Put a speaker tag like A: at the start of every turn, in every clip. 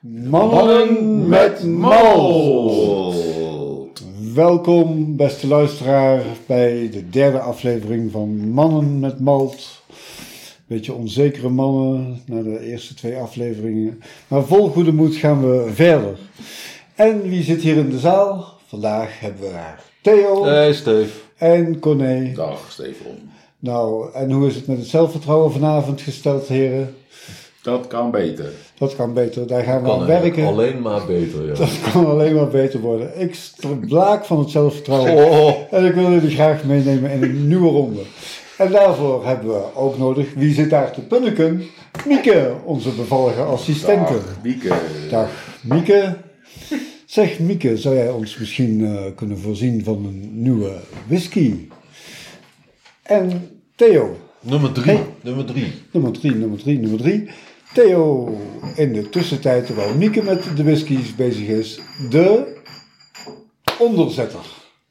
A: Mannen met Mal.
B: Mol.
A: Welkom, beste luisteraar, bij de derde aflevering van Mannen met Malt. Beetje onzekere mannen na de eerste twee afleveringen. Maar vol goede moed gaan we verder. En wie zit hier in de zaal? Vandaag hebben we haar Theo
B: Hey, Steef.
A: en Corné.
B: Dag, Stefan.
A: Nou, en hoe is het met het zelfvertrouwen vanavond gesteld, heren?
B: Dat kan beter.
A: Dat kan beter, daar gaan we
C: Kan
A: aan
C: eigenlijk
A: werken.
C: alleen maar beter, ja.
A: Dat kan alleen maar beter worden. Ik blaak van het zelfvertrouwen.
B: Oh.
A: En ik wil jullie graag meenemen in een nieuwe ronde. En daarvoor hebben we ook nodig, wie zit daar te punniken? Mieke, onze bevallige assistente.
B: Dag, Mieke.
A: Dag Mieke. Zeg Mieke, zou jij ons misschien eh, kunnen voorzien van een nieuwe whisky? En Theo,
C: Nummer drie. Nummer drie.
A: nummer 3, nummer 3, nummer 3. Theo, in de tussentijd, terwijl Mieke met de whiskies bezig is, de onderzetter.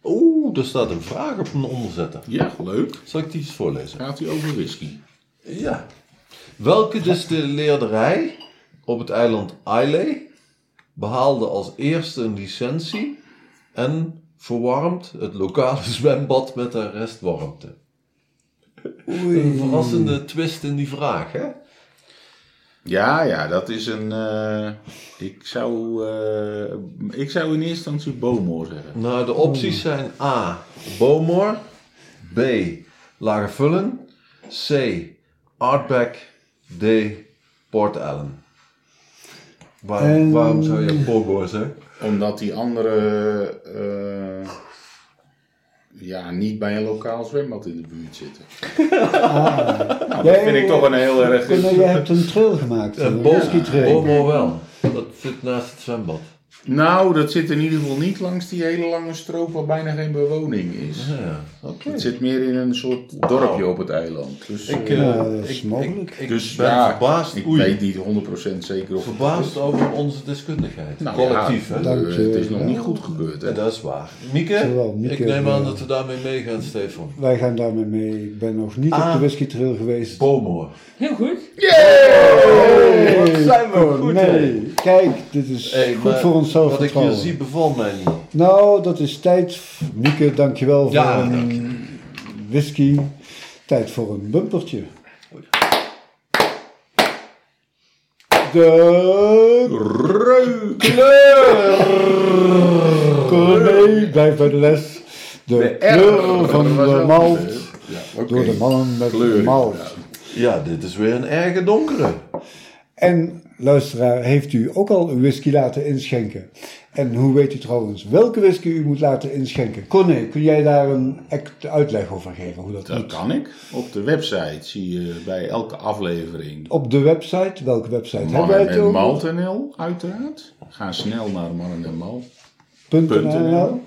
C: Oeh, er staat een vraag op een onderzetter.
B: Ja, leuk.
C: Zal ik die eens voorlezen?
B: Gaat hij over whisky?
C: Ja. Welke distilleerderij op het eiland Islay behaalde als eerste een licentie en verwarmt het lokale zwembad met haar restwarmte? Een verrassende twist in die vraag, hè?
B: Ja, ja, dat is een. eh, ik, zou, eh, ik zou in eerste instantie Bomoor zeggen.
C: Nou, de opties zijn A. Bomor. B. Lagervullen. C. Artback. D. Port Allen. Waarom,
A: En-
C: waarom zou je Bomor zeggen?
B: Omdat die andere. eh, ja, niet bij een lokaal zwembad in de buurt zitten. Nou, dat
A: Jij-
B: vind ik toch een heel erg.
A: Corné, jij hebt een trail gemaakt, eh, een whisky trail.
C: Bomor wel. Dat zit naast het zwembad.
B: Nou, dat zit in ieder geval niet langs die hele lange strook waar bijna geen bewoning is.
C: Ja, oké.
B: Het zit meer in een soort dorpje op het eiland. Dus,
C: Ik,
B: eh,
C: eh,
A: Ja, dat is
C: ik,
A: mogelijk.
C: ik- ik
B: dus
C: ben
B: ja,
C: verbaasd.
B: ik
C: oei,
B: weet niet 100% zeker of
C: verbaasd over onze deskundigheid.
B: Nou,
C: Collectief,
B: ja,
C: hè?
A: Dank
B: eh,
A: je.
B: Het is nog
A: Ja.
B: niet goed gebeurd, hè?
C: Ja, dat is waar. Mieke,
A: Zowel Mieke
C: ik neem aan
A: als-
C: dat we daarmee meegaan, Stefan.
A: Wij gaan daarmee mee. Ik ben nog niet op
C: Ah.
A: de whisky trail geweest.
C: Bomor.
D: Heel goed.
A: Hey,
C: wat zijn we
A: Corné.
C: goed, hè?
A: Kijk, dit is
C: Hey,
A: goed
C: maar
A: voor ons
C: Wat ik hier
A: zelfvertrouwen.
C: zie bevalt mij niet.
A: Nou, dat is tijd. Mieke, dankjewel
C: Ja,
A: voor
C: dank
A: een whisky. Tijd voor een bumpertje. De kleur. Blijf bij de les. De, kleur van eh, de malt.
B: Ja, oké.
A: Door de mannen met
B: Kleur,
A: malt.
B: ja.
C: Ja, dit is weer een erge donkere.
A: En luisteraar, heeft u ook al een whisky laten inschenken? En hoe weet u trouwens welke whisky u moet laten inschenken? Corné, kun jij daar een act- uitleg over geven hoe dat,
B: Dat
A: moet?
B: kan ik. Op de website zie je bij elke aflevering
A: Op de website, welke website hebben wij
B: Mannen
A: het
B: en
A: over?
B: Malt.nl, uiteraard. Ga snel naar Mannen en Malt.
A: .nl.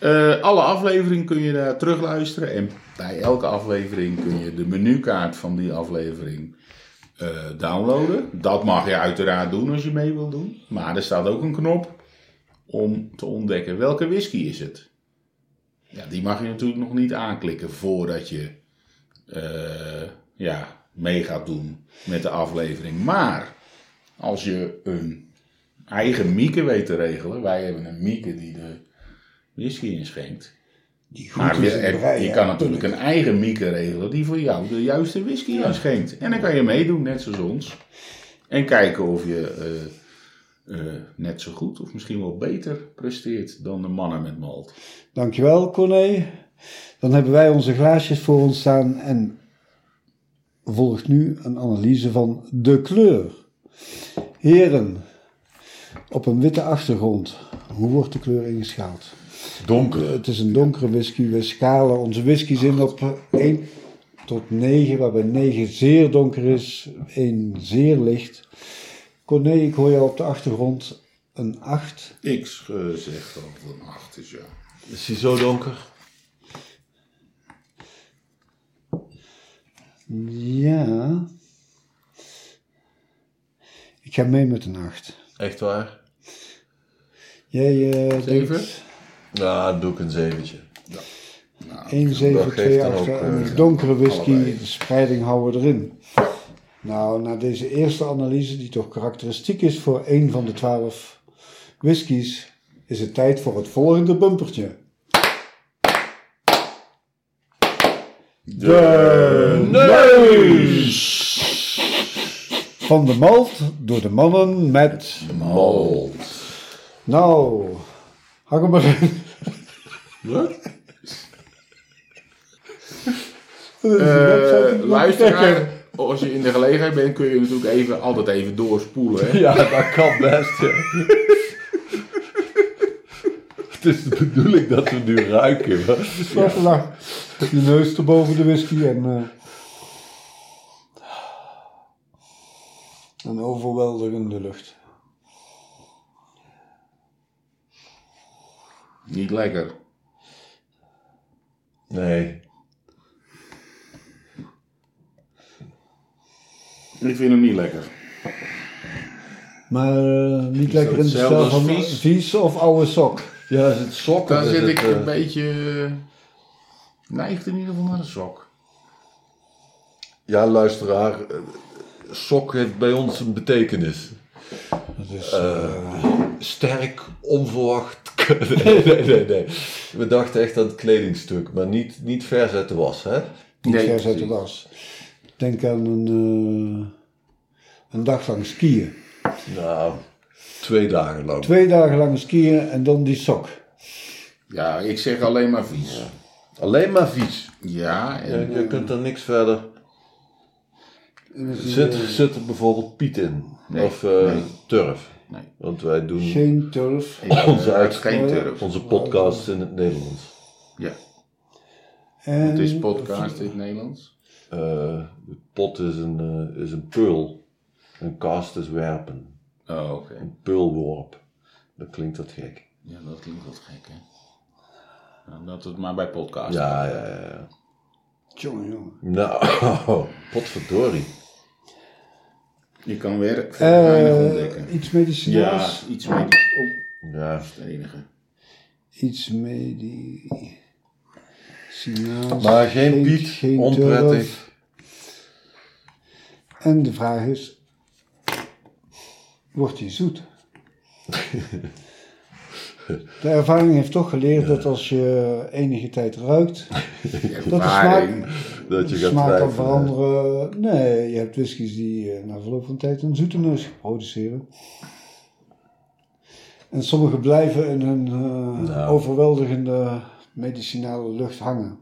B: Eh, alle afleveringen kun je daar terugluisteren. En bij elke aflevering kun je de menukaart van die aflevering eh, downloaden. Dat mag je uiteraard doen als je mee wil doen. Maar er staat ook een knop om te ontdekken welke whisky is het. Ja, die mag je natuurlijk nog niet aanklikken voordat je eh, ja, mee gaat doen met de aflevering. Maar als je een eigen mieke weet te regelen. Wij hebben een mieke die de whisky inschenkt.
A: Die goed
B: Maar
A: is
B: je,
A: in
B: er-
A: breien,
B: je kan
A: hè?
B: natuurlijk een eigen mieke regelen die voor jou de juiste whisky inschenkt. En dan kan je meedoen, net zoals ons. En kijken of je eh, eh, net zo goed of misschien wel beter presteert dan de mannen met malt.
A: Dankjewel, Corné. Dan hebben wij onze glaasjes voor ons staan en volgt nu een analyse van de kleur. Heren, op een witte achtergrond, hoe wordt de kleur ingeschaald?
C: Donker.
A: Het is een donkere whisky. We schalen onze whiskies in op 1 tot 9, waarbij 9 zeer donker is, 1 zeer licht. Corné, ik hoor jou op de achtergrond een 8.
B: Ik eh, zeg dat het een 8 is, ja.
C: Is hij zo donker?
A: Ja. Ik ga mee met een 8.
C: Echt waar?
A: Jij eh
B: Zeven?
A: denkt
C: Ja, dan doe ik een zeventje.
A: 1, 7,
C: geeft
A: 2,
C: dan
B: Ah,
A: 8.
C: ook,
A: Een
C: eh,
A: donkere whisky,
B: allebei.
A: de spreiding houden we erin. Nou, na deze eerste analyse, die toch karakteristiek is voor één van de twaalf whiskies, is het tijd voor het volgende bumpertje. De neus van de malt door de mannen met.
B: Malt.
A: Nou, hang hem maar in.
B: Wat?
A: Dat is een website die
B: Eh
A: moet
B: luisteraar,
A: kijken.
B: als je in de gelegenheid bent, kun je natuurlijk even, altijd even doorspoelen. Hè?
C: Ja, dat kan best. Ja. Het is de bedoeling dat we nu ruiken. hè.
A: Zwarte lach. Je neus te boven de whisky en. eh, een overweldigende lucht.
B: Niet lekker.
C: Nee.
B: Ik vind hem niet lekker.
A: Maar eh, niet lekker in de
C: hetzelfde
A: stijl
C: als
A: van
C: vies?
A: vies of oude sok.
C: Ja, is het sok?
B: Daar
C: of is
B: zit
C: het,
B: ik een
C: eh,
B: beetje... eh, Neigt in ieder geval naar een sok.
C: Ja, luisteraar. eh, Sok heeft bij ons een betekenis. Eh,
A: Dat is,
C: Sterk, onverwacht. Nee, nee, nee. nee. We dachten echt aan het kledingstuk, maar niet, niet vers uit de was, hè?
A: niet
B: Nee,
A: vers uit de
B: precies.
A: was. Denk aan een, eh, een dag lang skiën.
C: Nou, twee dagen lang.
A: Twee dagen lang skiën en dan die sok.
B: Ja, ik zeg alleen maar vies.
C: Alleen maar vies.
B: Ja,
C: Je,
B: en
C: je kunt er niks verder. Zit, zit er bijvoorbeeld piet in?
B: eh, Nee,
C: of eh,
B: nee.
C: turf?
B: Nee.
C: Want wij doen
A: Geen turf.
B: ik, eh,
C: Onze uit-
B: geen turf.
C: onze podcasts in het Nederlands.
B: Ja,
A: En
B: het is podcast in het Nederlands.
C: Eh, de pot is een, eh, is een peul. Een cast is werpen.
B: Oh, oké.
C: Een peulworp. Dat klinkt wat gek.
B: Ja, dat klinkt wat gek, hè? Nou, dat het maar bij podcast.
C: Ja, ja, ja. ja.
A: Jongen, jongen.
C: Nou, potverdorie.
B: Je kan weer
A: Eh,
B: weinig ontdekken.
A: iets medicinaals.
B: Ja, iets meer. Oh,
C: Ja.
B: dat is het enige.
A: Iets medicinaals.
C: Maar geen piet,
A: geen turf.
C: onprettig.
A: En de vraag is, wordt hij zoet? De ervaring heeft toch geleerd dat als je enige tijd ruikt, dat de smaak,
B: Ervaring.
C: Dat je
A: de
C: gaat
A: smaak kan
C: twijfelen.
A: veranderen. Nee, je hebt whiskies die eh, na verloop van tijd een zoete neus produceren. En sommige blijven in hun eh,
C: Nou.
A: overweldigende medicinale lucht hangen.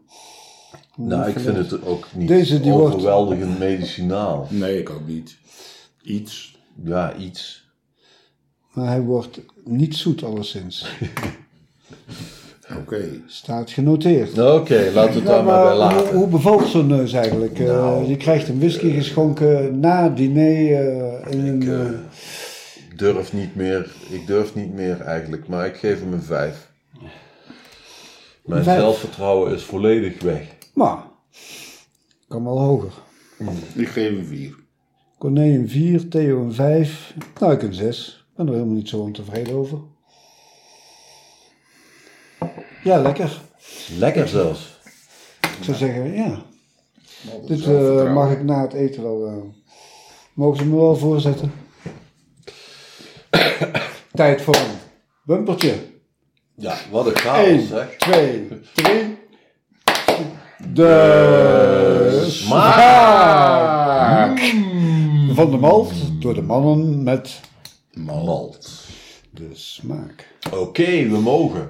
C: Nou, ik vind het ook niet
A: Deze die wordt-
C: overweldigend medicinaal.
B: Nee, ik ook niet. Iets.
C: Ja, iets.
A: Maar hij wordt niet zoet alleszins.
B: Oké.
A: Staat genoteerd.
C: Nou, Oké, laten we het
A: Nou,
C: daar maar bij
A: maar hoe,
C: laten.
A: hoe bevalt zo'n neus eigenlijk? Eh,
C: Nou,
A: je krijgt een whisky geschonken na het diner eh, in een... eh,
C: Ik durf niet meer, ik durf niet meer eigenlijk, maar ik geef hem een vijf. Mijn
A: Vijf.
C: zelfvertrouwen is volledig weg.
A: maar, kan wel hoger.
B: Ik geef een vier.
A: Corné een 4, Theo een 5, nou ik een 6. Ik ben er helemaal niet zo ontevreden over. Ja, lekker.
C: Lekker zelfs.
A: Ik zou zeggen, ja.
B: Nou,
A: Dit eh,
B: zelfvertrouwen.
A: mag ik na het eten wel... eh, mogen ze me wel voorzetten? Tijd voor een bumpertje.
C: Ja, wat een chaos,
A: 1,
C: Oh, zeg.
A: 2, 3. De
B: Ah,
A: van de malt door de mannen met
C: Malt.
A: de smaak.
C: Oké, we mogen.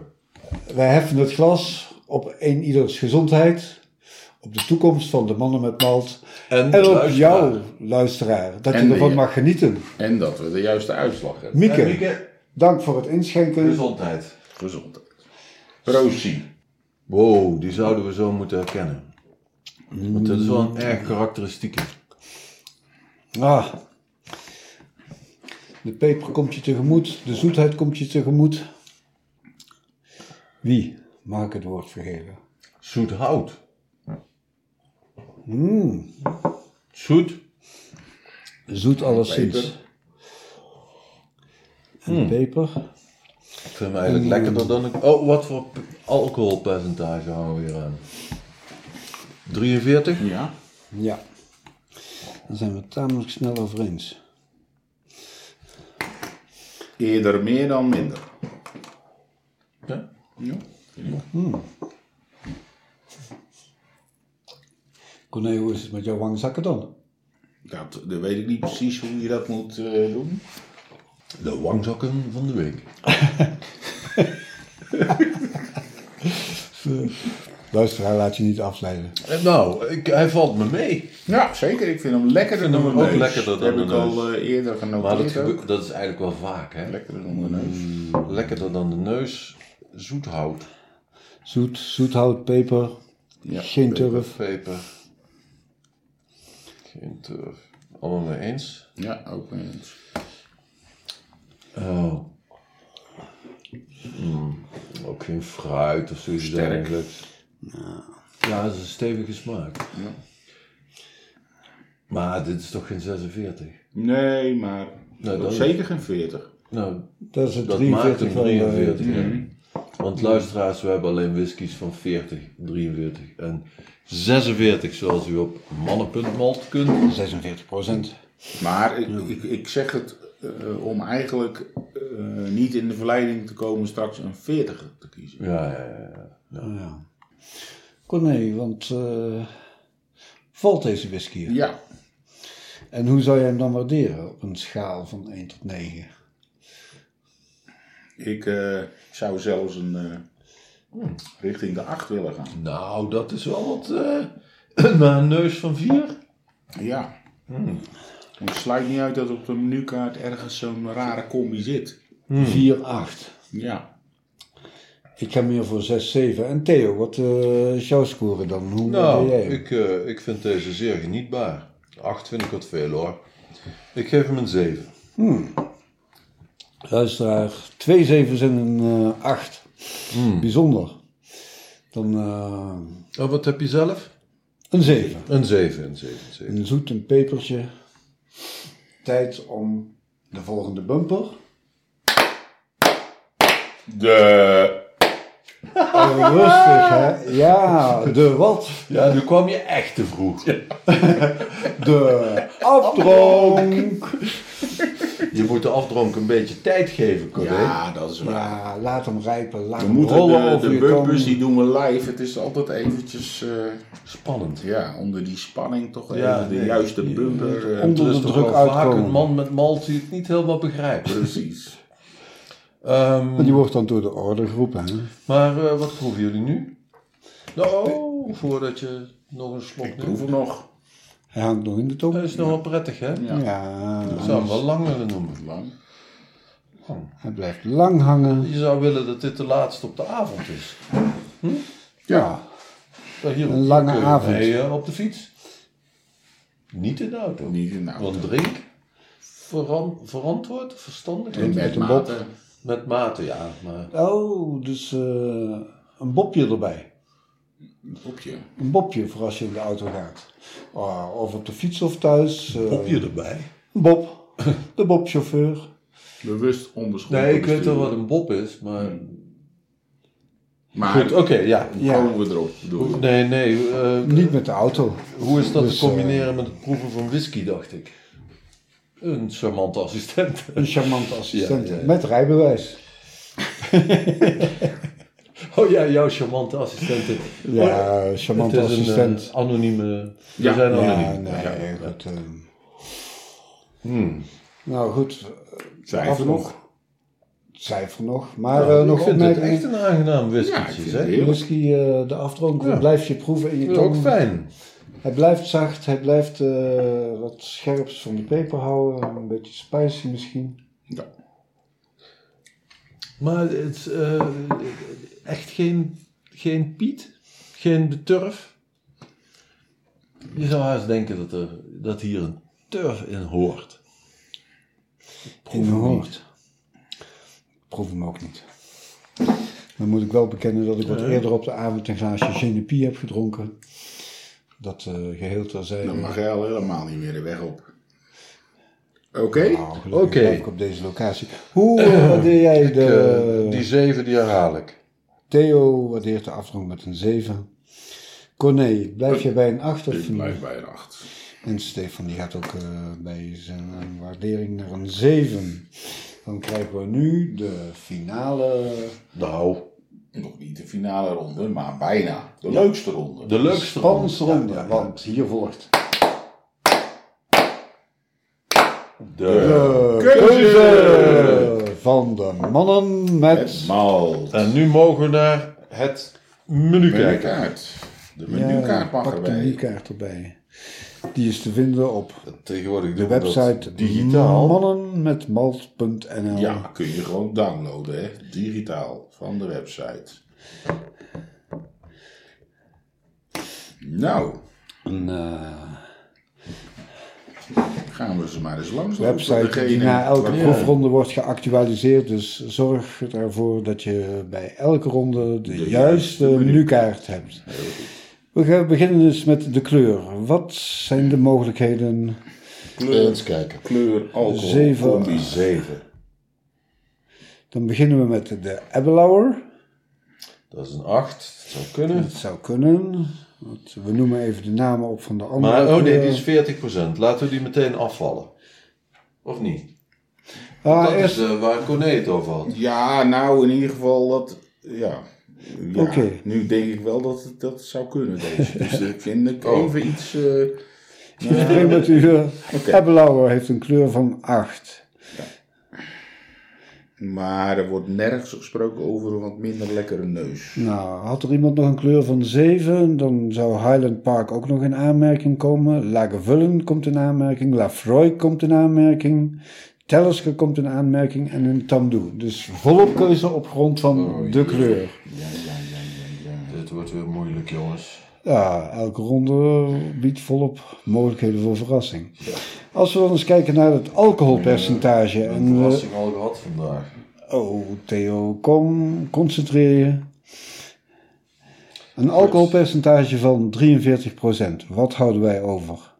A: Wij heffen het glas op een ieders gezondheid, op de toekomst van de mannen met malt
C: En,
A: en op
C: luisteraar.
A: jou, luisteraar, dat
B: En
A: je ervan
B: de-
A: mag genieten.
B: en dat we de juiste uitslag hebben.
C: En
A: Mieke,
C: Mieke,
A: dank voor het inschenken.
C: gezondheid.
B: Gezondheid. Prozie.
C: Wow, die zouden we zo moeten herkennen. Want dat is wel
A: Mm.
C: een erg karakteristieke.
A: Ah. De peper komt je tegemoet, de zoetheid komt je tegemoet. Wie mag ik het woord vergeven?
C: Zoet hout.
A: Mm,
C: Zoet.
A: zoet alleszins. En peper.
C: Ik vind hem eigenlijk lekkerder dan ik. Oh, wat voor p- alcoholpercentage houden we hier aan? 43?
B: Ja.
A: Ja. Daar zijn we het tamelijk snel over eens.
B: Eerder meer dan minder.
C: Ja.
B: Ja.
A: Corné, hoe is het met jouw wangzakken dan?
B: Dat, dat weet ik niet precies hoe je dat moet eh, doen.
C: De wangzakken van de week.
A: Luisteraar, laat je niet afleiden.
C: Eh, Nou, ik, hij valt me mee.
B: Ja, zeker. Ik vind hem lekkerder
C: Ik vind
B: dan
C: hem
B: mijn
C: ook
B: neus.
C: lekkerder dan
B: Dat
C: de
B: heb ik
C: neus.
B: al eh, eerder
C: Maar dat, Hmm.
B: genoteerd. ook.
C: gebe- dat is eigenlijk wel vaak, hè?
B: Lekkerder dan de neus.
C: Lekkerder dan de neus, zoet hout,
A: Zoet, zoethout, peper,
B: Ja,
A: geen turf.
C: peper. Geen turf. Allemaal mee eens?
B: Ja, ook mee eens.
C: Oh. Mm, Ook geen fruit of zoiets
B: Sterk.
C: dergelijks. Nou. Ja, het is een stevige smaak.
B: Ja.
C: Maar dit is toch geen 46?
B: Nee, maar
C: Nou,
B: ook
C: dan-
B: zeker geen 40.
C: Nou,
A: Dat is het
C: dat maakt
A: 43
C: een
A: van de...
C: 43. hè. Want luisteraars, we hebben alleen whiskies van 40, 43 en 46, zoals u op mannen.malt kunt.
A: 46 procent.
B: Maar ik, ik, ik zeg het eh, om eigenlijk eh, niet in de verleiding te komen straks een 40 te kiezen.
C: Ja, ja, ja, ja.
A: Ja. Corné, want eh, valt deze whisky? er?
B: Ja,
A: En hoe zou jij hem dan waarderen op een schaal van 1 tot 9?
B: ik eh, zou zelfs een, eh, hmm, richting de 8 willen gaan.
C: Nou, dat is wel wat. eh na een neus van 4.
B: Ja.
C: Hmm.
B: Het sluit niet uit dat op de menukaart ergens zo'n rare combi zit.
C: Hmm.
A: 4, 8.
B: Ja.
A: Ik ga meer voor 6, 7. En Theo, wat eh, is jouw score dan? Hoe
C: Nou,
A: ben jij?
C: ik, eh, ik vind deze zeer genietbaar. 8 vind ik wat veel hoor. Ik geef hem een 7.
A: Luisteraar, twee zevens en een eh, acht.
C: Hmm.
A: Bijzonder. Dan eh,
C: Oh, wat heb je zelf?
A: een zeven.
C: Een 7, een 7, een 7.
A: Een zoet, een pepertje. Tijd om de volgende bumper.
B: De...
A: Rustig, hè? Ja, de wat?
C: Ja, nu kwam je echt te vroeg.
A: De afdronk.
C: Je moet de afdronk een beetje tijd geven, Corné.
B: Ja, dat is waar.
A: Ja, laat hem rijpen. Laat
B: We
A: hem
B: moeten
A: rollen
B: de,
A: over
B: de
A: je
B: bumpers,
A: tong.
B: die doen we live. Het is altijd eventjes... eh,
C: Spannend.
B: Ja, onder die spanning toch
C: Ja,
B: even de
C: nee.
B: juiste bumper. eh,
A: Onder
C: Er
A: de
C: is toch
A: druk
C: wel vaak
A: uitkomen.
C: een man met malt die het niet helemaal begrijpt.
B: precies.
C: Ehm,
A: Die wordt dan door de orde geroepen. Hè?
C: maar eh, wat proeven jullie nu? Nou, oh, voordat je nog een slok
B: Ik
C: neemt.
B: proef hem nog.
A: Hij hangt nog in de
C: Dat
A: tong.
C: is nog wel prettig, hè?
B: Ja.
A: Ja,
C: Ik zou hem wel lang willen noemen.
B: Lang.
A: hij blijft lang hangen.
C: Je zou willen dat dit de laatste op de avond is.
A: Ja,
C: Nou, hier
A: Een lange
C: kun je
A: avond.
C: mee, eh, op de fiets. Niet in de auto.
B: Niet in nou, de auto.
C: Want drink veran- verantwoord, verstandig.
B: En
A: Met
B: met
A: een
B: mate.
C: Met mate, ja. Maar
A: Oh, dus eh, een bobje erbij.
B: Een kopje.
A: Een bobje voor als je in de auto gaat. Oh, of op de fiets of thuis. eh,
C: erbij?
A: Een bob. De bobchauffeur.
B: Bewust onbeschonken
C: Nee, ik weet wel
B: besturen.
C: wat een bob is, maar...
B: Maar
C: Goed, oké, ja.
A: Ja.
B: komen we erop. bedoel
C: Hoe-
B: ik.
C: Nee, nee. eh,
A: Niet met de auto.
C: hoe is dat
A: Dus,
C: te combineren met het proeven van whisky, dacht ik? Een charmante assistent.
A: Een charmante assistent.
C: Ja, ja, ja.
A: Met rijbewijs.
C: Oh ja, jouw charmante assistente. Oh,
A: Ja, charmante
C: het is een,
A: assistent.
C: eh, anonieme... We
B: Ja.
C: zijn anoniem.
A: ja, nee, goed. eh. Nou goed,
B: Twijfel
A: Afdronk.
B: nog.
A: cijfer nog. Maar eh, nog
C: ik vind het
A: opmerkingen.
C: echt een aangenaam
B: Ja, ik
C: whisky.
B: vind
C: hè?
B: het
C: Ik
A: De
B: heerlijk.
A: Whisky, eh, de afdronk,
C: Ja.
A: blijf je proeven in je
C: vind het ook
A: tong.
C: fijn.
A: Hij blijft zacht, hij blijft eh, wat scherps van de peper houden, een beetje spicy misschien.
B: Ja.
C: Maar het is eh, echt geen, geen Piet, geen de turf. Je zou haast denken dat, er, dat hier een turf in hoort. Ik
A: In
C: hem
A: mijn
C: niet.
A: hoort. Ik proef hem ook niet. Dan moet ik wel bekennen dat ik
C: Eh?
A: wat eerder op de avond een glaasje Genepi heb gedronken. Dat eh, geheel terzijde.
B: Dan mag
A: Nou,
B: hij al helemaal niet meer de weg op. Oké.
A: Nou, gelukkig
C: Oké.
A: blijf ik op deze locatie. Hoe eh, waardeer jij
C: Ik,
A: de...
C: eh, die zeven die herhaal ik.
A: Theo waardeert de
C: Eh,
A: afdronk met een 7. Corné, blijf je bij een 8 of
B: Ik
A: een-
B: blijf bij een acht.
A: En Stefan die gaat ook eh, bij zijn eh, waardering naar een 7. Dan krijgen we nu de finale.
C: Nou,
B: Nog niet de finale ronde, maar bijna. De leukste ronde.
C: de leukste
A: Spannendste ronde,
C: Ja, ja, ja.
A: want hier volgt
C: De...
A: de
B: keuze.
A: keuze van de mannen met
B: Het malt.
C: En nu mogen we naar het menu kijken.
B: menukaart. De
A: Ja,
B: menukaart mag
A: pak de
B: erbij.
A: menukaart erbij. Die is te vinden op
C: Tegenwoordig
A: de website
C: digitaal.
A: mannenmetmalt.nl.
B: Ja, kun je gewoon downloaden, hè? digitaal van de website. Nou,
A: Een eh,
B: gaan we ze maar eens langs. lopen.
A: website die
B: Degene
A: na elke
B: waar-
A: proefronde wordt geactualiseerd. Dus zorg ervoor dat je bij elke ronde de,
B: De
A: juiste
B: juiste menu.
A: menukaart hebt. We gaan beginnen dus met de kleur. Wat zijn de mogelijkheden?
B: kleur,
D: Eens kijken.
B: kleur, alcohol,
A: Zeven.
B: combi.
D: 7.
A: Dan beginnen we met de Abelauer.
C: Dat is een 8. Dat zou kunnen.
A: Dat zou kunnen. Want We noemen even de namen op van de andere.
C: Maar, oh nee,
A: kleuren.
C: die is 40%. Laten we die meteen afvallen. Of niet?
A: Ah,
C: dat
A: eerst-
C: is eh, waar Corné het over had.
B: Ja, nou in ieder geval dat. Ja. Ja,
A: Oké.
B: Nu denk ik wel dat het- dat zou kunnen, deze. Dus ik vind ik
C: Oh.
B: even iets. eh,
A: Ik begin met u. eh, Abelauer heeft een kleur van 8.
B: maar er wordt nergens gesproken over een wat minder lekkere neus.
A: Nou, had er iemand nog een kleur van 7, dan zou Highland Park ook nog in aanmerking komen. Lagavulin komt in aanmerking, Lafroy komt in aanmerking, Telesco komt in aanmerking en een Tamdoe. Dus volop keuze op grond van
C: Oh,
A: de kleur.
C: Dit wordt weer moeilijk, jongens.
A: Ja, elke ronde biedt volop mogelijkheden voor verrassing. Als we dan eens kijken naar het alcoholpercentage.
C: Ik heb
A: en
C: een
A: we-
C: verrassing al gehad vandaag.
A: Oh, Theo, kom, concentreer je. Een alcoholpercentage van 43%. Wat houden wij over?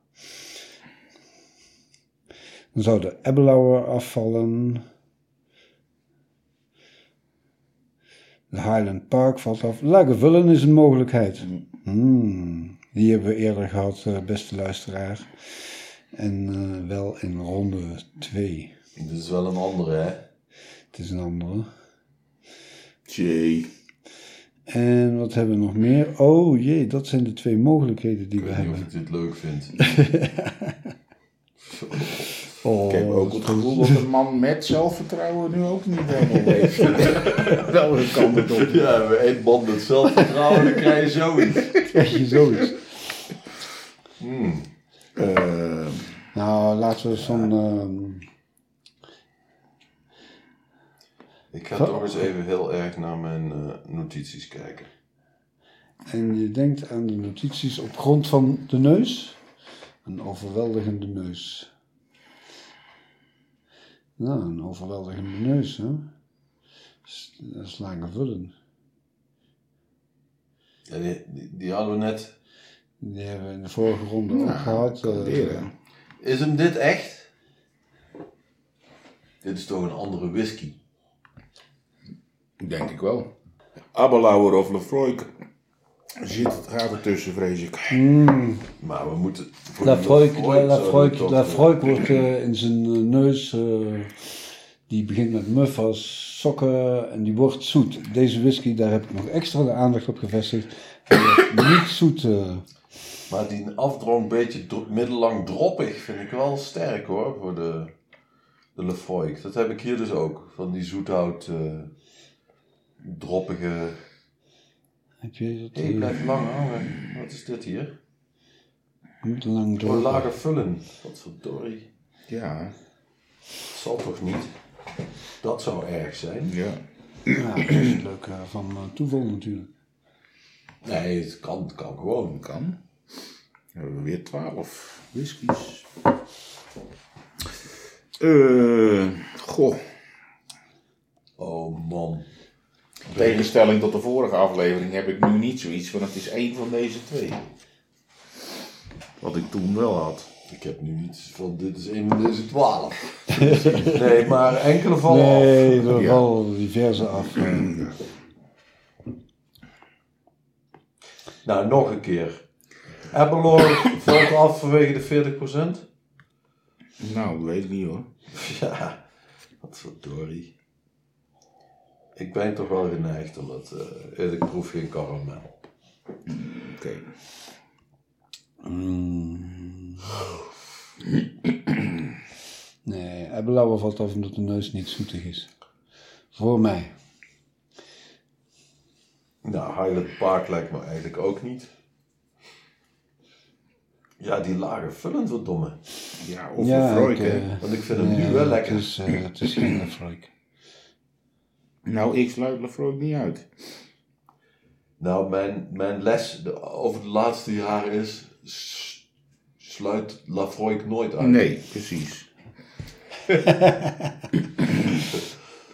A: Dan zou de Ebelauer afvallen. De Highland Park valt af. Lagavulin is een mogelijkheid. Hmm, die hebben we eerder gehad, eh, beste luisteraar. En eh, wel in ronde 2.
C: Dit is wel een andere, hè?
A: Het is een andere.
B: Jee.
A: En wat hebben we nog meer? Oh jee, dat zijn de twee mogelijkheden die
C: Ik
A: we
C: weet niet of
A: hebben.
C: ik dit leuk vind.
A: Oh,
B: Ik heb ook het gevoel dat een man met zelfvertrouwen nu ook niet helemaal weet. Welke kant het op.
C: ja, we één band met zelfvertrouwen, dan krijg je zoiets.
A: krijg je zoiets.
C: Hmm.
B: Eh,
A: Nou, laten we zo'n... ehm,
C: Ik ga toch eens even heel erg naar mijn eh, notities kijken.
A: en je denkt aan de notities op grond van de neus. Een overweldigende neus. Nou, een overweldigende neus, hè. S- Dat is Lagavulin.
C: Ja, die, die, die hadden we net.
A: Die hebben we in de vorige ronde
B: Nou,
A: ook gehad.
B: dat kan
A: eh,
B: leren.
C: Is hem dit echt? Dit is toch een andere whisky?
B: denk ik wel. Abelauer of Lefroy zit het gaat ertussen, vrees ik.
C: Maar we moeten... voor die
A: Lafroik
C: Lafroig
A: Lafroik-
C: zouden we toch-
A: Lafroik eh, wordt eh, in zijn eh, neus, eh, die begint met muff als sokken en die wordt zoet. Deze whisky, daar heb ik nog extra de aandacht op gevestigd. Hij wordt niet zoet. eh.
C: Maar die afdronk een beetje dro- middellang droppig vind ik wel sterk hoor, voor de, de Lefroy. Dat heb ik hier dus ook, van die zoethout eh, droppige...
A: heb je dat?
C: Hé,
A: eh,
C: blijft lang hangen. Wat is dit hier?
A: eh, niet lang
C: Voor
A: door.
C: lager vullen. Wat verdorie.
B: Ja,
C: Dat zal toch niet? Dat zou erg zijn.
B: ja.
A: Ja, dat is het leuke van eh, toeval natuurlijk.
C: Nee, het kan, het kan gewoon.
B: kan. Dan hebben we weer 12 whiskies. Eh, goh.
C: Oh man.
B: Tegenstelling tot de vorige aflevering heb ik nu niet zoiets, want het is één van deze twee. Wat ik toen wel had.
C: Ik heb nu iets van, dit is een van deze twaalf. nee, maar enkele vallen af.
A: Nee, we
B: Ja.
A: vallen diverse af. eh.
C: Nou, nog een keer. Abelore valt af vanwege de 40%.
B: Nou, dat weet ik niet hoor.
C: Ja, wat verdorie. Ik ben toch wel geneigd om dat. eh, ik proef geen karamel.
B: Oké.
A: Mm. Nee, Ebelauer valt af omdat de neus niet zoetig is. Voor mij.
C: Nou, Highland Park lijkt me eigenlijk ook niet. Ja, die lagen vullend wat domme.
B: Ja, of een Freud,
A: ik,
B: hè.
A: eh,
C: Want ik vind hem
A: nee,
C: nu wel lekker.
A: Het is, eh, het is geen Lefroik.
B: Nou, ik sluit Lefroy niet uit.
C: Nou, mijn, mijn les de- over de laatste jaren is. s- Sluit Lafroik nooit uit.
B: Nee, precies.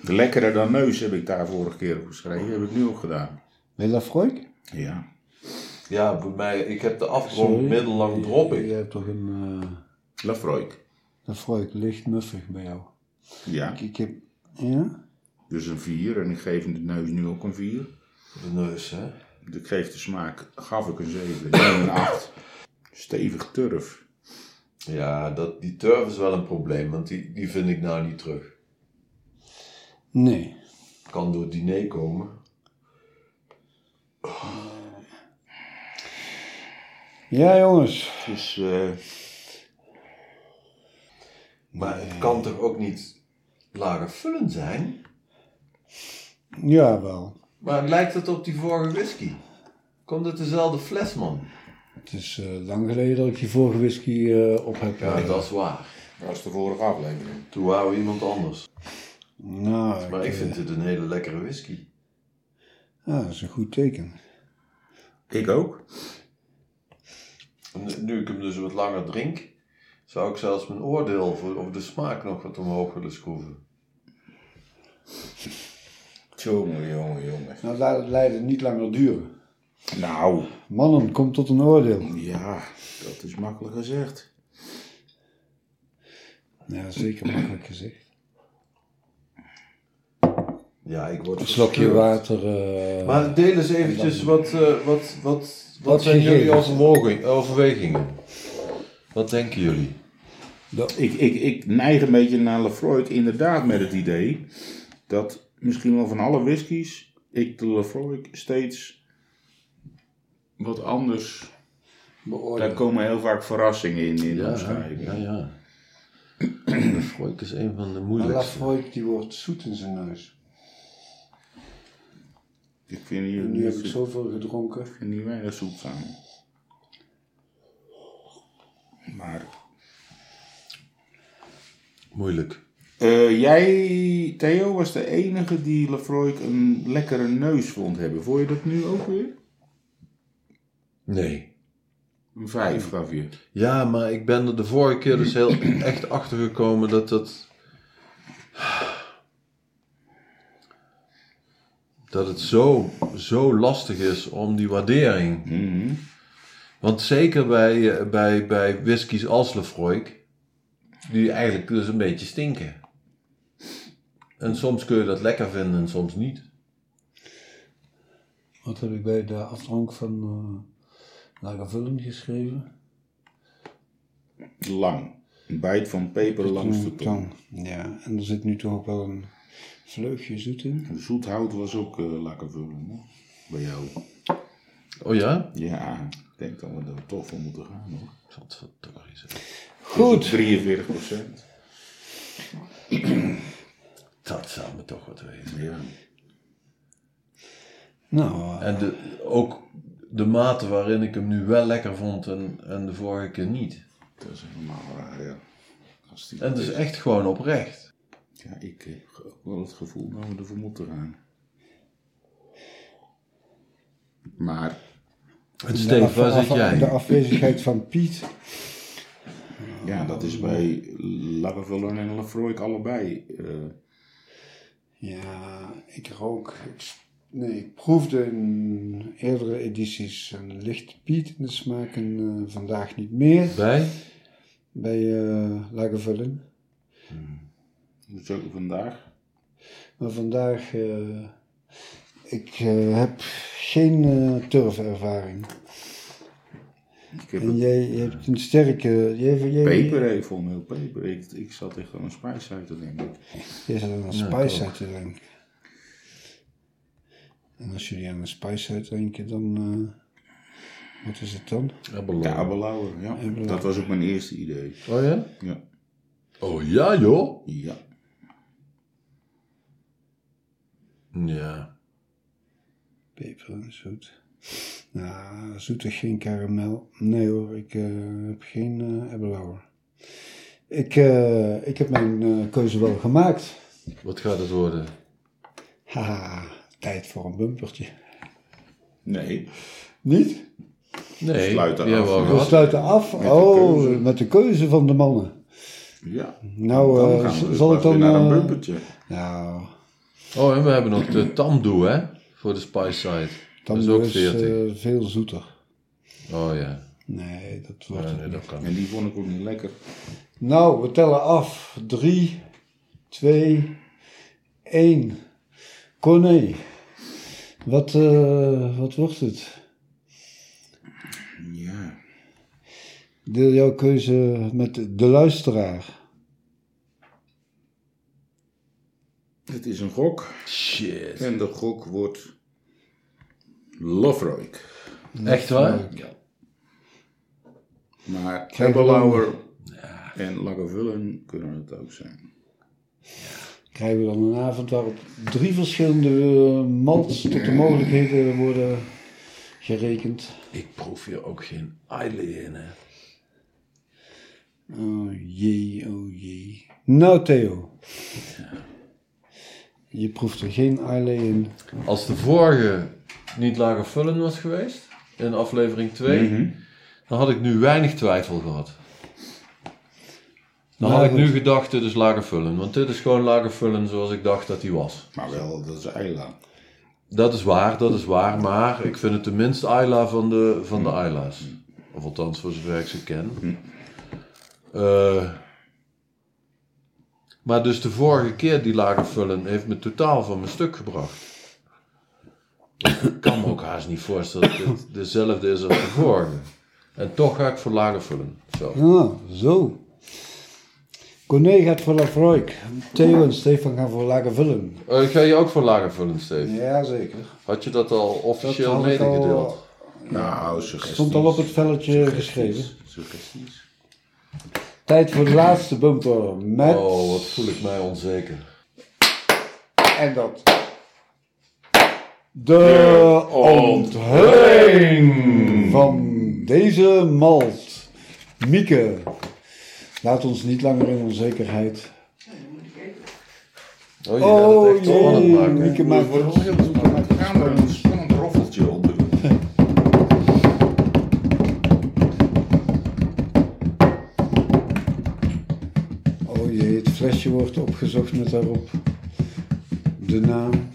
B: Lekkerder dan neus heb ik daar vorige keer op geschreven. Heb ik nu ook gedaan.
A: Wil je Lefroik?
B: Ja.
C: Ja, bij mij, ik heb de afgrond middellang drop
A: Je
C: ik.
A: hebt toch een eh
B: Lafroik.
A: Lefroik, licht muffig bij jou.
B: Ja,
A: Ik, ik heb... Ja?
B: dus een 4. En ik geef de neus nu ook een 4.
C: De neus, hè?
B: Ik geef de smaak, gaf ik een 7. Nu een 8. Stevig turf.
C: Ja, dat, die turf is wel een probleem, want die, die vind ik nou niet terug.
A: Nee.
C: Kan door het diner komen.
A: Ja, jongens.
B: Dus eh,
C: Maar het kan toch ook niet lager vullen zijn?
A: Ja, wel.
C: Maar lijkt het op die vorige whisky? Komt het dezelfde fles, man?
A: Het is eh, lang geleden dat ik die vorige whisky eh, op heb.
C: Ja, dat is waar.
B: dat was de vorige aflevering.
C: Toen waren we iemand anders.
A: Nou,
C: Maar ik
A: eh,
C: vind dit een hele lekkere whisky.
A: ja, dat is een goed teken.
B: Ik ook.
C: En Nu ik hem dus wat langer drink, zou ik zelfs mijn oordeel voor- over de smaak nog wat omhoog willen schroeven.
B: Jongen, jongen, jongen.
A: Nou, laat het lijden niet langer duren.
B: Nou,
A: Mannen, kom tot een oordeel.
B: ja, dat is makkelijk gezegd.
A: Ja, zeker makkelijk gezegd.
C: Ja, ik word
A: Een slokje
C: verscheurd.
A: water. eh,
C: Maar deel eens eventjes wat, eh, wat, wat, wat,
A: Wat
C: zijn jullie
A: gegevens?
C: overwogen- overwegingen? Wat denken jullie?
B: Ik, ik, ik neig een beetje naar Lefroy inderdaad met het idee dat misschien wel van alle whiskies ik de Lefroy steeds wat anders. Daar
A: beoordeel.
B: komen heel vaak verrassingen in in de omschrijving.
C: ja, ja. Freud is een van de
A: Maar
C: moeilijkste.
A: Lafroik, die wordt zoet in zijn neus.
B: Ik vind hier
A: En nu heb ik
B: niet-
A: zoveel gedronken.
B: En niet weinig zoet aan. Maar.
C: Moeilijk.
B: eh, jij, Theo, was de enige die Lefroy een lekkere neus vond hebben. Vond je dat nu ook weer?
C: Nee.
B: Een vijf gaf je.
C: Ja, maar ik ben er de vorige keer dus heel echt achter gekomen dat dat. Dat het zo, zo lastig is om die waardering.
B: Mhm.
C: Want zeker bij, eh, bij, bij whiskies als Lefroik, die eigenlijk dus een beetje stinken. En soms kun je dat lekker vinden en soms niet.
A: Wat heb ik bij de afdronk van eh Lagervullen geschreven?
B: Lang. Een bijt van peper langs de
A: Een
B: tong.
A: tang. Ja, en er zit nu toch ook wel een vleugje zoet in.
B: Zoethout was ook eh lekker vullen hoor. bij jou.
C: Oh ja?
B: Ja, ik denk dat we er toch voor moeten gaan hoor.
C: Godverdorie, zeg.
A: Goed.
B: Dus 43 procent.
C: Dat zou me toch wat wezen.
B: Ja.
A: Nou, eh,
C: En de, ook de mate waarin ik hem nu wel lekker vond en, en de vorige keer niet.
B: Dat is helemaal raar, ja. Als die
C: En het is echt gewoon oprecht.
B: Ja, ik heb ook wel het gevoel dat we ervoor moeten gaan. Maar,
C: En
A: de
C: Steve,
A: af-
C: waar zit
A: af- De
C: jij?
A: afwezigheid van Piet.
B: ja, dat is bij Lagavulin en Lafroik allebei. eh,
A: Ja, ik rook. Ik, s- nee, ik proefde in eerdere edities een licht Piet in de smaak en eh, vandaag niet meer
C: Bij?
A: bij eh Lagervullen.
B: hoe zeg ik dus vandaag?
A: Maar vandaag, eh, ik eh, heb geen eh, turfervaring.
B: Ik heb
A: En
B: een
A: jij, jij hebt een sterke... Jij, jij,
B: paper even volmeel paper. Ik, ik zat echt aan een spice uit te denken.
A: Jij zat aan een spice uit te drinken. En als jullie aan een spice uit drinken, dan... eh, wat is het dan?
B: Ja, Abelauer, ja. Dat was ook mijn eerste idee.
C: Oh ja?
B: Ja.
C: Oh ja, joh.
B: ja.
C: Ja.
A: Peper en zoet. Nou, zoetig geen karamel. Nee hoor, ik eh, heb geen eh Abelauer. Ik, eh, ik heb mijn eh, keuze wel gemaakt.
C: Wat gaat het worden?
A: Haha, tijd voor een bumpertje.
B: Nee.
A: Niet?
C: Nee,
B: Sluit
C: die
B: er
C: hebben we
B: af.
C: al
A: We
C: gehad.
A: sluiten af.
B: de
A: oh,
B: keuze.
A: met de keuze van de mannen.
B: Ja.
A: Nou,
B: Dan
A: eh,
B: gaan we dus
A: zal ik
B: pas weer
A: dan...
B: naar een
A: eh,
B: bumpertje.
A: nou,
C: Oh, en we hebben nog de tamdoe, hè? Voor de Spice Side.
A: dan
C: dat
A: is
C: is ook 40.
A: eh, veel zoeter.
C: Oh ja.
A: Nee, dat wordt
C: Ja,
A: het
C: nee,
A: niet.
C: dat kan.
B: En die vond ik ook niet lekker.
A: Nou, we tellen af. 3, 2, 1. Corné, wat, eh, wat wordt het?
B: Ja.
A: Deel jouw keuze met de luisteraar.
B: Het is een gok.
C: Shit.
B: En de gok wordt... Lovroik.
C: Echt waar?
B: Ja. Maar
A: Krijg je
B: Abelauer en Lagavulin kunnen het ook zijn.
A: Krijgen we dan een avond waarop drie verschillende eh, malts tot de mogelijkheden worden gerekend.
C: Ik proef hier ook geen Islay in, hè?
A: Oh jee, oh jee. Nou Theo. Je proeft er geen Islay in.
C: Als de vorige niet lager vullen was geweest, in aflevering 2,
A: Mhm.
C: dan had ik nu weinig twijfel gehad. Dan
A: Nou,
C: had ik
A: goed.
C: nu gedacht, dit is lager vullen. Want dit is gewoon lager vullen zoals ik dacht dat hij was.
B: Maar wel, dat is Eila.
C: Dat is waar, dat is waar. Maar ik vind het de minst Ayla van de, van de Ayla's. Of althans, voor zover ik ze ken. Eh, maar dus de vorige keer die lagen vullen heeft me totaal van mijn stuk gebracht. Ik kan me ook haast niet voorstellen dat dit dezelfde is als de vorige. En toch ga ik voor lagen vullen. Zo.
A: Ah, zo. Corné gaat voor Lafroik. Theo en Stefan gaan voor Lagervullen.
C: Eh, ga je ook voor lagen vullen, Steve?
A: Jazeker.
C: Had je dat al
A: Dat
C: officieel
A: had ik
C: medegedeeld?
A: al,
B: Nou, suggesties.
A: stond al op het velletje geschreven.
B: Suggesties.
A: Tijd voor de laatste bumper met...
C: Oh, wat voel ik mij onzeker.
A: En dat... De onthulling van deze malt. Mieke, laat ons niet langer in onzekerheid.
C: Oh, je gaat
A: Oh
C: het echt spannend
A: jee,
C: maken.
A: Mieke maakt
B: wordt heel spannend. We gaan er een spannend roffeltje op doen.
A: Oh jee, het flesje wordt opgezocht met daarop de naam.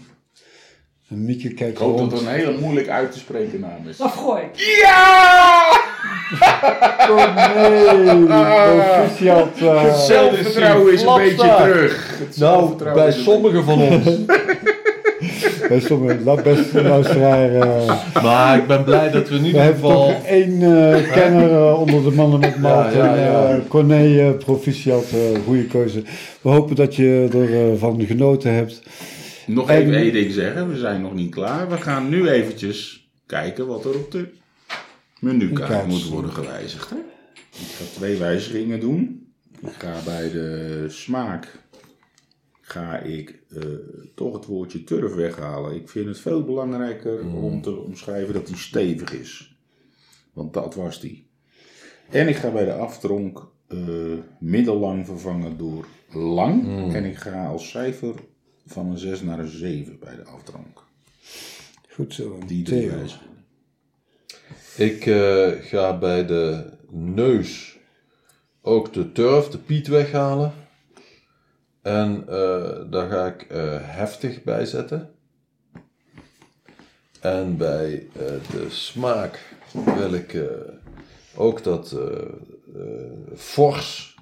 A: En Mieke kijkt
B: Ik hoop dat
A: rond.
B: het een hele moeilijk uit te spreken naam is.
D: Lafroy.
A: Oh nee, proficiat. eh.
B: Zelfvertrouwen is een
C: Flap
B: beetje
C: staat.
B: terug. Het
C: Nou,
B: zelfvertrouwen
C: bij
B: is een beetje-
C: sommigen van ons.
A: Wij sommigen, dat beste luisteraar. eh,
C: Maar ik ben blij dat we in
A: we
C: ieder
A: hebben
C: geval...
A: toch één eh, kenner eh, onder de mannen met Maalt.
C: Ja, ja,
A: en,
C: ja.
A: eh, Corné, eh, proficiat, eh goede keuze. We hopen dat je ervan genoten hebt.
B: Nog
A: En-
B: even één ding zeggen, we zijn nog niet klaar. We gaan nu eventjes kijken wat er op de menukaart
A: Menukaart.
B: moet worden gewijzigd. Hè? Ik ga twee wijzigingen doen. Ik ga bij de smaak ga ik eh, toch het woordje turf weghalen. Ik vind het veel belangrijker om te omschrijven dat die stevig is. Want dat was die. En ik ga bij de aftronk eh, middellang vervangen door lang. En ik ga als cijfer van een 6 naar een 7 bij de aftronk.
A: Goed zo,
B: Die drie
A: Theo.
B: wijzigingen.
C: Ik eh, ga bij de neus ook de turf, de piet weghalen. En eh, daar ga ik eh, heftig bij zetten. En bij eh, de smaak wil ik eh, ook dat eh, eh, fors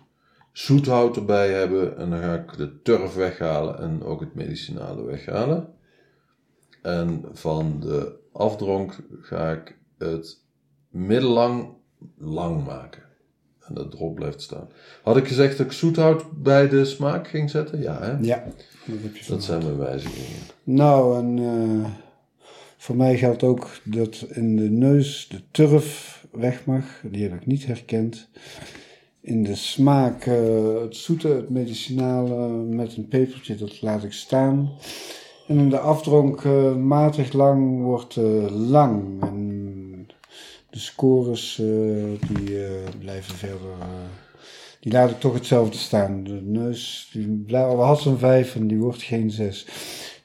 C: zoethout erbij hebben. En dan ga ik de turf weghalen en ook het medicinale weghalen. En van de afdronk ga ik het middellang lang maken. En dat erop blijft staan. Had ik gezegd dat ik zoethout bij de smaak ging zetten? Ja, hè?
A: Ja, dat heb je van.
C: Dat zijn mijn wijzigingen.
A: Nou, en eh, voor mij geldt ook dat in de neus de turf weg mag. Die heb ik niet herkend. In de smaak eh, het zoete, het medicinale met een pepertje, dat laat ik staan. En in de afdronk eh, matig lang wordt eh, lang. En de scores eh, die eh, blijven verder... eh, die laat ik toch hetzelfde staan. De neus, die blij- we hadden een 5 en die wordt geen 6.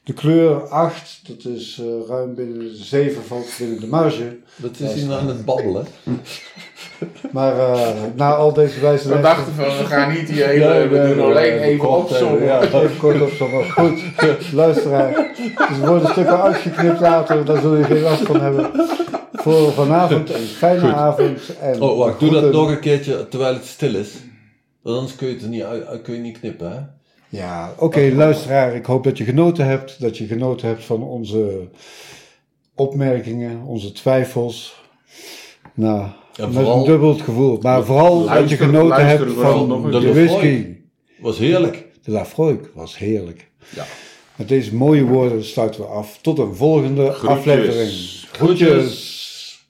A: De kleur 8, dat is eh, ruim binnen de 7 valt binnen de marge.
C: Dat is hier aan het babbelen.
A: Maar eh, na al deze wijze
B: We dachten van, we gaan niet die hele, we doen alleen even opzommen.
A: Even kort op zo'n goed. Luisteraar, dus er worden stukken uitgeknipt later, daar zul je geen last van hebben. Voor vanavond een fijne avond. En
C: Oh, wacht. Doe dat
A: groeten.
C: nog een keertje terwijl het stil is. Want anders kun je het er niet, uit- kun je niet knippen, hè?
A: Ja, oké, luisteraar. Ik hoop dat je genoten hebt. Dat je genoten hebt van onze opmerkingen, onze twijfels. Nou, met
C: vooral-
A: een dubbeld gevoel. Maar vooral dat je
B: Luister-
A: genoten
B: luister
A: hebt
B: vooral
A: van
B: nog een
A: de,
C: keer.
A: whisky.
C: Was heerlijk.
A: De Lafroik was heerlijk.
B: Ja.
A: Met deze mooie woorden sluiten we af. Tot een volgende
B: Groetjes.
A: aflevering.
C: Groetjes.